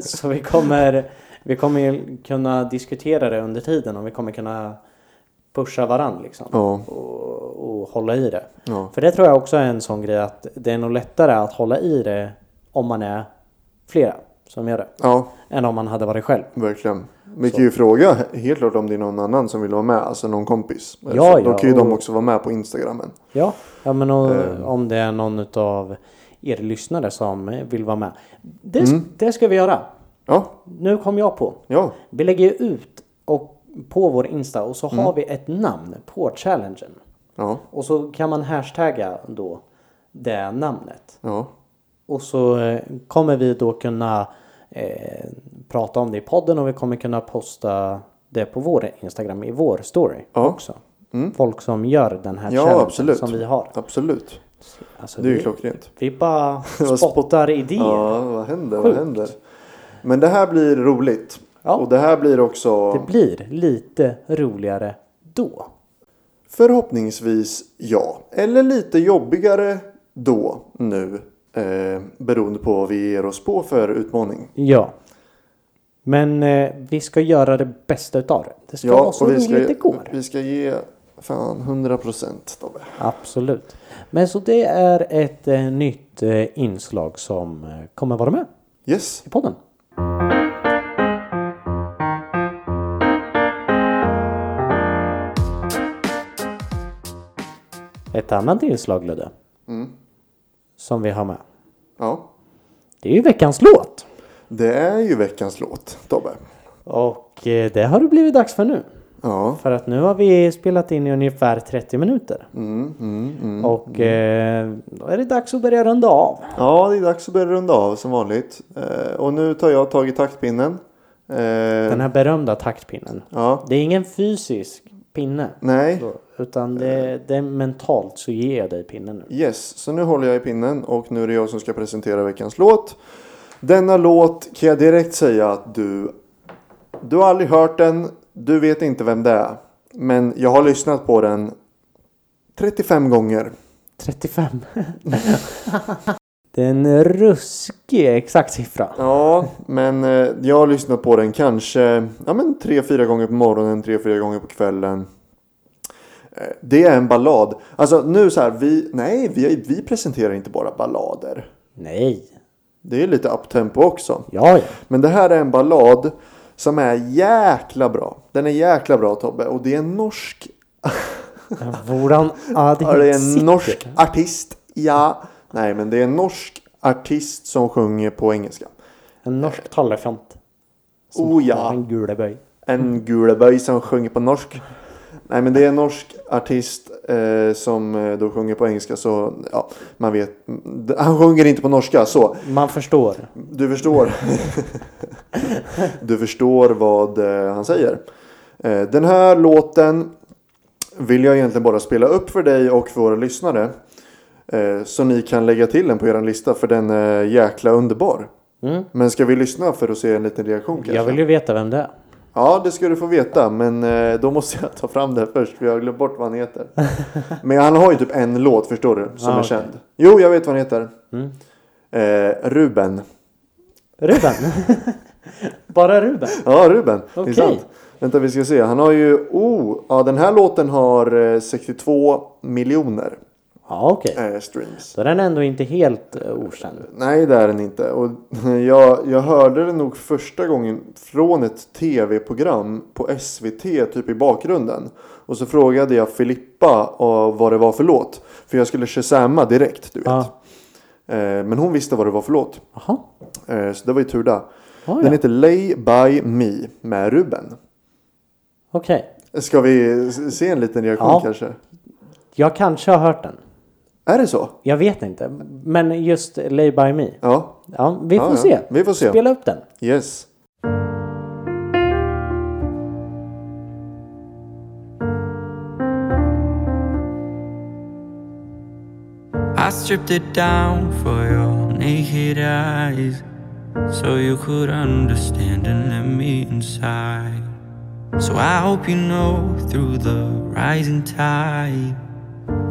S1: Så vi kommer, vi kommer ju kunna diskutera det under tiden och vi kommer kunna pusha varann liksom.
S2: Ja.
S1: Och, och hålla i det.
S2: Ja.
S1: För det tror jag också är en sån grej att det är nog lättare att hålla i det om man är flera som gör det.
S2: ja.
S1: Än om man hade varit själv.
S2: Verkligen. Vi kan ju fråga helt klart om det är någon annan som vill vara med, alltså någon kompis.
S1: Ja,
S2: Eftersom Då
S1: ja,
S2: kan ju de
S1: och-
S2: också vara med på Instagramen.
S1: Ja, ja men och,
S2: Ehm.
S1: om det är någon av er lyssnare som vill vara med. Det,
S2: Mm.
S1: det ska vi göra.
S2: Ja,
S1: Nu kom jag på.
S2: ja,
S1: Vi lägger ju ut och på vår Insta och så
S2: Mm.
S1: har vi ett namn på challengen.
S2: ja,
S1: Och så kan man hashtagga då det namnet.
S2: ja.
S1: Och så eh, kommer vi då kunna eh, prata om det i podden och vi kommer kunna posta det på vår Instagram i vår story
S2: Ja. Mm.
S1: också. Folk som gör den här
S2: Ja,
S1: challengen
S2: absolut.
S1: som vi har.
S2: Absolut.
S1: Alltså,
S2: Det är ju
S1: vi-
S2: klockrent.
S1: Vi bara
S2: var
S1: spottar idéer.
S2: Ja, vad händer? Vad händer? Men det här blir roligt.
S1: Ja.
S2: Och det här blir också
S1: Det blir lite roligare då.
S2: förhoppningsvis ja. Eller lite jobbigare då, nu. Eh, beroende på vad vi ger oss på för utmaning.
S1: Ja. Men eh, vi ska göra det bästa utav det. Det ska vara så
S2: och vi
S1: roligt
S2: ska,
S1: det går.
S2: vi ska ge fan 100% Tobbe.
S1: Absolut. Men så det är ett eh, nytt eh, inslag som eh, kommer vara med
S2: Yes.
S1: i podden. Ett annat inslag Ludde.
S2: Mm.
S1: Som vi har med.
S2: Ja.
S1: Det är ju veckans låt.
S2: Det är ju veckans låt, Tobbe.
S1: Och eh, det har det blivit dags för nu.
S2: Ja.
S1: För att nu har vi spelat in i ungefär 30 minuter.
S2: Mm, mm, mm.
S1: Och eh, då är det dags att börja runda av.
S2: ja, det är dags att börja runda av som vanligt. Eh, och nu tar jag tag i taktpinnen. Eh,
S1: Den här berömda taktpinnen.
S2: Ja.
S1: Det är ingen fysisk pinne.
S2: Nej.
S1: Så, Utan det, det är mentalt så ger jag dig pinnen nu.
S2: Yes, så nu håller jag i pinnen och nu är det jag som ska presentera veckans låt. Denna låt kan jag direkt säga att du... Du har aldrig hört den, du vet inte vem det är. Men jag har lyssnat på den 35 gånger.
S1: 35. det är en ruskig exakt siffra.
S2: Ja, men eh, jag har lyssnat på den kanske ja, men tre, fyra gånger på morgonen, tre, fyra gånger på kvällen. Eh, Det är en ballad. Alltså nu så här, vi, nej, vi, vi presenterar inte bara ballader.
S1: Nej.
S2: Det är lite uptempo också.
S1: Ja, ja.
S2: Men det här är en ballad som är jäkla bra. Den är jäkla bra Tobbe och det är en norsk,
S1: Våran
S2: ja, det är alltså.
S1: adhesiv.
S2: en norsk artist. Ja, nej men det är en norsk artist som sjunger på engelska.
S1: En norsk tallefant.
S2: Oh
S1: Har
S2: ja,
S1: En guleböj.
S2: en guleböj som sjunger på norsk. Nej men det är en norsk artist eh, som eh, då sjunger på engelska så ja, man vet. Han sjunger inte på norska så.
S1: Man förstår.
S2: Du förstår. du förstår vad eh, han säger. Eh, Den här låten vill jag egentligen bara spela upp för dig och för våra lyssnare. eh, Så ni kan lägga till den på er lista för den är jäkla underbar.
S1: Mm.
S2: Men ska vi lyssna för att se en liten reaktion kanske?
S1: Jag vill ju veta vem det är.
S2: Ja, det ska du få veta. Men eh, då måste jag ta fram det först för jag har glömt bort vad han heter. men han har ju typ en låt förstår du som
S1: Ah,
S2: är
S1: okej.
S2: känd. Jo, jag vet vad han heter.
S1: Mm.
S2: Eh, Ruben.
S1: Ruben. Bara Ruben.
S2: Ja, Ruben. Det
S1: Okej.
S2: är sant. Vänta, vi ska se. Han har ju... Oh, ja, den här låten har eh, 62 miljoner
S1: Ja, okej.
S2: eh, streams.
S1: Så den är ändå inte helt eh, okänd.
S2: Nej, det är den inte. Och jag, jag hörde den nog första gången från ett tv-program på SVT, typ i bakgrunden. Och så frågade jag Filippa eh, vad det var för låt. För jag skulle shazamma direkt, du vet.
S1: Ja.
S2: Eh, men hon visste vad det var för låt.
S1: Jaha.
S2: Eh, så det var ju tur där.
S1: Ah, Ja,
S2: Den
S1: ja.
S2: heter Lay By Me med Ruben.
S1: Okej.
S2: Ska vi s- se en liten reaktion
S1: Ja.
S2: kanske?
S1: Jag kanske har hört den.
S2: Är det så?
S1: Jag vet inte. Men just Lay By Me.
S2: Ja.
S1: Ja, vi får
S2: ja,
S1: se.
S2: Ja. Vi får se.
S1: Spela upp den.
S2: Yes.
S3: I stripped it down for your naked eyes so you could understand and let me inside. So I hope you know through the rising tide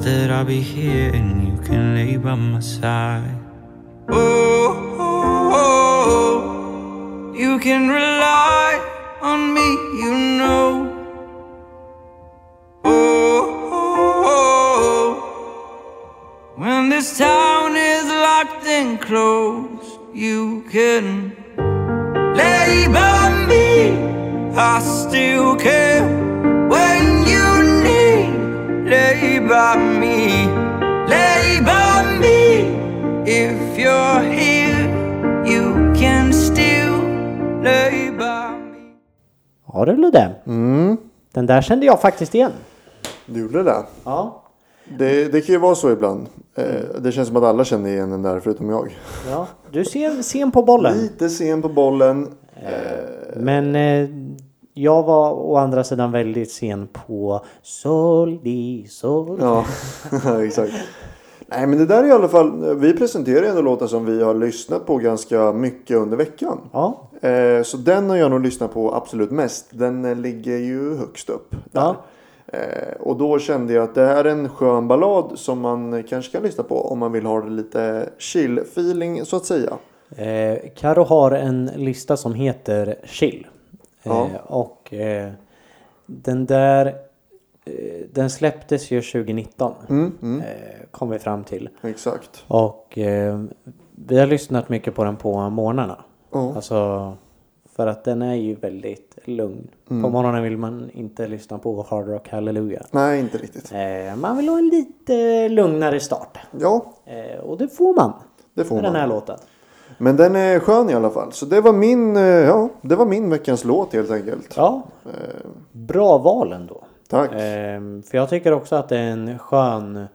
S3: that I'll be here and you can lay by my side. Oh, oh, oh, oh. you can rely on me, you know. Oh, oh, oh, oh. When this town is locked and closed, you can lay by me. I still care when you need. Lay by me, lay by me. If you're here, you can still lay by me.
S1: Ja du det. Den där kände jag faktiskt igen.
S2: Du gjorde det.
S1: Ja.
S2: det. Det kan ju vara så ibland. Eh, det känns som att alla känner igen den där förutom jag.
S1: ja. Du ser sen på bollen.
S2: Lite sen på bollen.
S1: Men eh, jag var å andra sidan väldigt sen på Sol di Sol.
S2: Ja, exakt. Nej men det där är i alla fall. Vi presenterar ju ändå låtar som vi har lyssnat på ganska mycket under veckan.
S1: Ja.
S2: Eh, så den har jag nog lyssnat på absolut mest. Den eh, ligger ju högst upp. Där.
S1: Ja.
S2: Eh, och då kände jag att det här är en skön ballad som man eh, kanske kan lyssna på om man vill ha lite chill-feeling så att säga.
S1: Eh, Karo har en lista som heter Chill.
S2: Ja.
S1: Eh, och eh, den där eh, den släpptes ju 2019.
S2: Mm, mm,
S1: Eh, kom vi fram till.
S2: exakt.
S1: Och eh, vi har lyssnat mycket på den på morgnarna.
S2: Ja.
S1: Alltså för att den är ju väldigt lugn.
S2: Mm.
S1: På morgonen vill man inte lyssna på Hard Rock Hallelujah.
S2: Nej, inte riktigt.
S1: Eh, man vill ha en lite lugnare start.
S2: Ja,
S1: Eh, och det får man.
S2: det får
S1: med den här
S2: man.
S1: låten.
S2: Men den är skön i alla fall. Så det var min, eh, ja, det var min veckans låt helt enkelt.
S1: Ja,
S2: Eh,
S1: bra val ändå.
S2: tack.
S1: Ehm, för jag tycker också att det är en skön,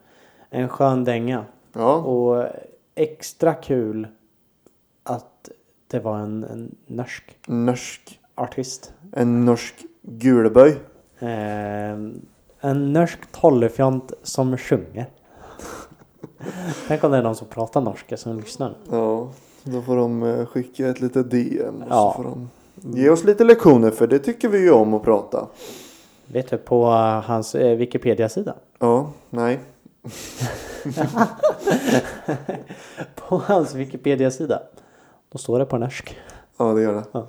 S1: en skön dänga.
S2: ja.
S1: Och extra kul att det var en, en norsk
S2: Norsk.
S1: artist.
S2: En norsk gulböj.
S1: Ehm, en norsk tollefjant som sjunger. Tänk om det är någon som pratar norska som lyssnar.
S2: Ja, då får de eh, skicka ett litet DM. Och
S1: Ja.
S2: så får de ge oss lite lektioner för det tycker vi ju om att prata.
S1: Vet du på eh, hans eh, Wikipedia-sida?
S2: Ja, nej.
S1: På hans Wikipedia-sida. Då står det på norsk.
S2: Ja, det gör det.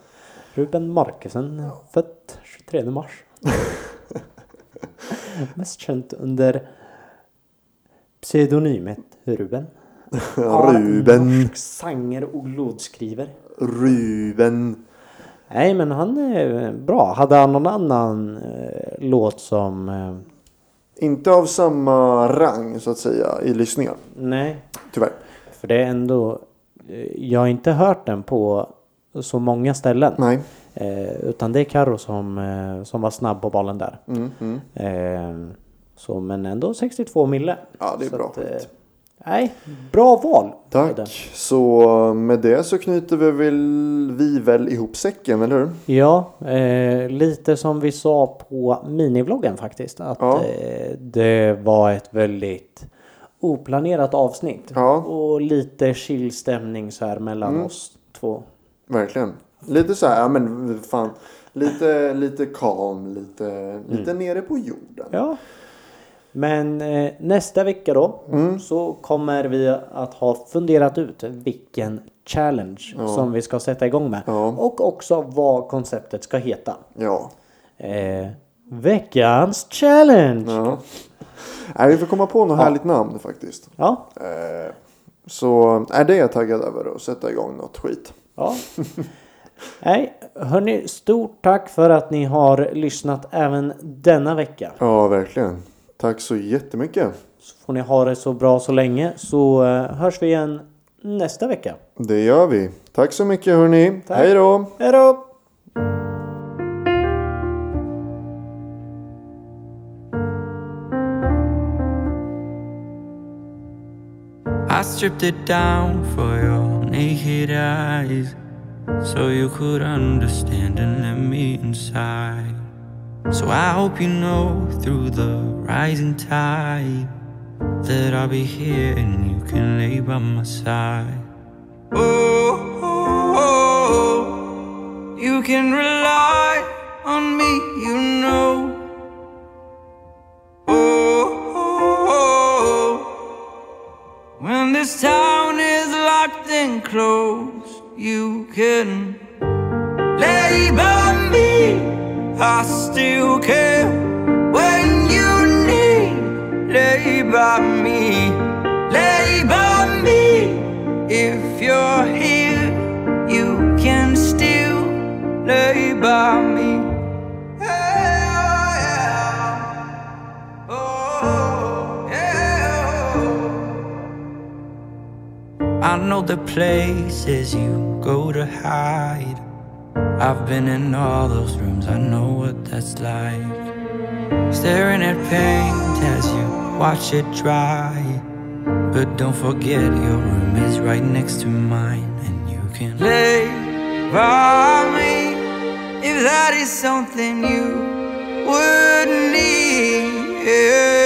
S1: Ruben Markusen, född 23 mars. Mest känt under pseudonymet Ruben.
S2: Ruben.
S1: Norsk sanger och låtskriver.
S2: Ruben.
S1: Nej men han är bra. Hade han någon annan eh, låt som... Eh,
S2: Inte av samma rang så att säga i lyssningar.
S1: nej.
S2: Tyvärr.
S1: För det är ändå... eh, Jag har inte hört den på så många ställen.
S2: Nej.
S1: Eh, utan det är Karo som, eh, som var snabb på bollen där.
S2: Mm, mm.
S1: Eh, så men ändå 62 mille.
S2: Ja, det är
S1: så
S2: bra skit.
S1: eh, nej, bra val. är det.
S2: Tack. Så eh, med det så knyter vi väl, vi väl ihop säcken, eller hur?
S1: Ja, eh, lite som vi sa på minivloggen faktiskt. Att
S2: Ja.
S1: eh, det var ett väldigt oplanerat avsnitt.
S2: Ja. Mm.
S1: Och lite chill stämning så här mellan oss två.
S2: Verkligen. Lite så här, ja men fan. Lite, lite calm, lite, lite nere på jorden.
S1: Ja. Men eh, nästa vecka då så kommer vi att ha funderat ut vilken challenge som vi ska sätta igång med.
S2: Ja.
S1: Och också vad konceptet ska heta.
S2: Ja.
S1: Eh, veckans challenge! Ja.
S2: ja. Nej, vi får komma på något härligt namn faktiskt.
S1: Ja,
S2: Eh, så är det är jag taggad över att sätta igång något skit.
S1: Nej, hörni, stort tack för att ni har lyssnat även denna vecka.
S2: Ja, verkligen. Tack så jättemycket.
S1: Så får ni ha det så bra så länge så eh, hörs vi igen nästa vecka.
S2: Det gör vi. Tack så mycket hörni.
S1: Tack.
S2: Hej då!
S1: Hej då!
S3: I stripped it down for your naked eyes so you could understand and let me inside. So I hope you know through the rising tide that I'll be here and you can lay by my side. Oh, oh, oh, oh. you can rely on me, you know. Oh, oh, oh, oh. When this town is locked and closed, you can lay by me. I still care when you need. Lay by me, lay by me. If you're here, you can still lay by me. Yeah, yeah. Oh, yeah. I know the places you go to hide. I've been in all those rooms, I know what that's like. Staring at paint as you watch it dry. But don't forget your room is right next to mine, and you can lay by me if that is something you would need.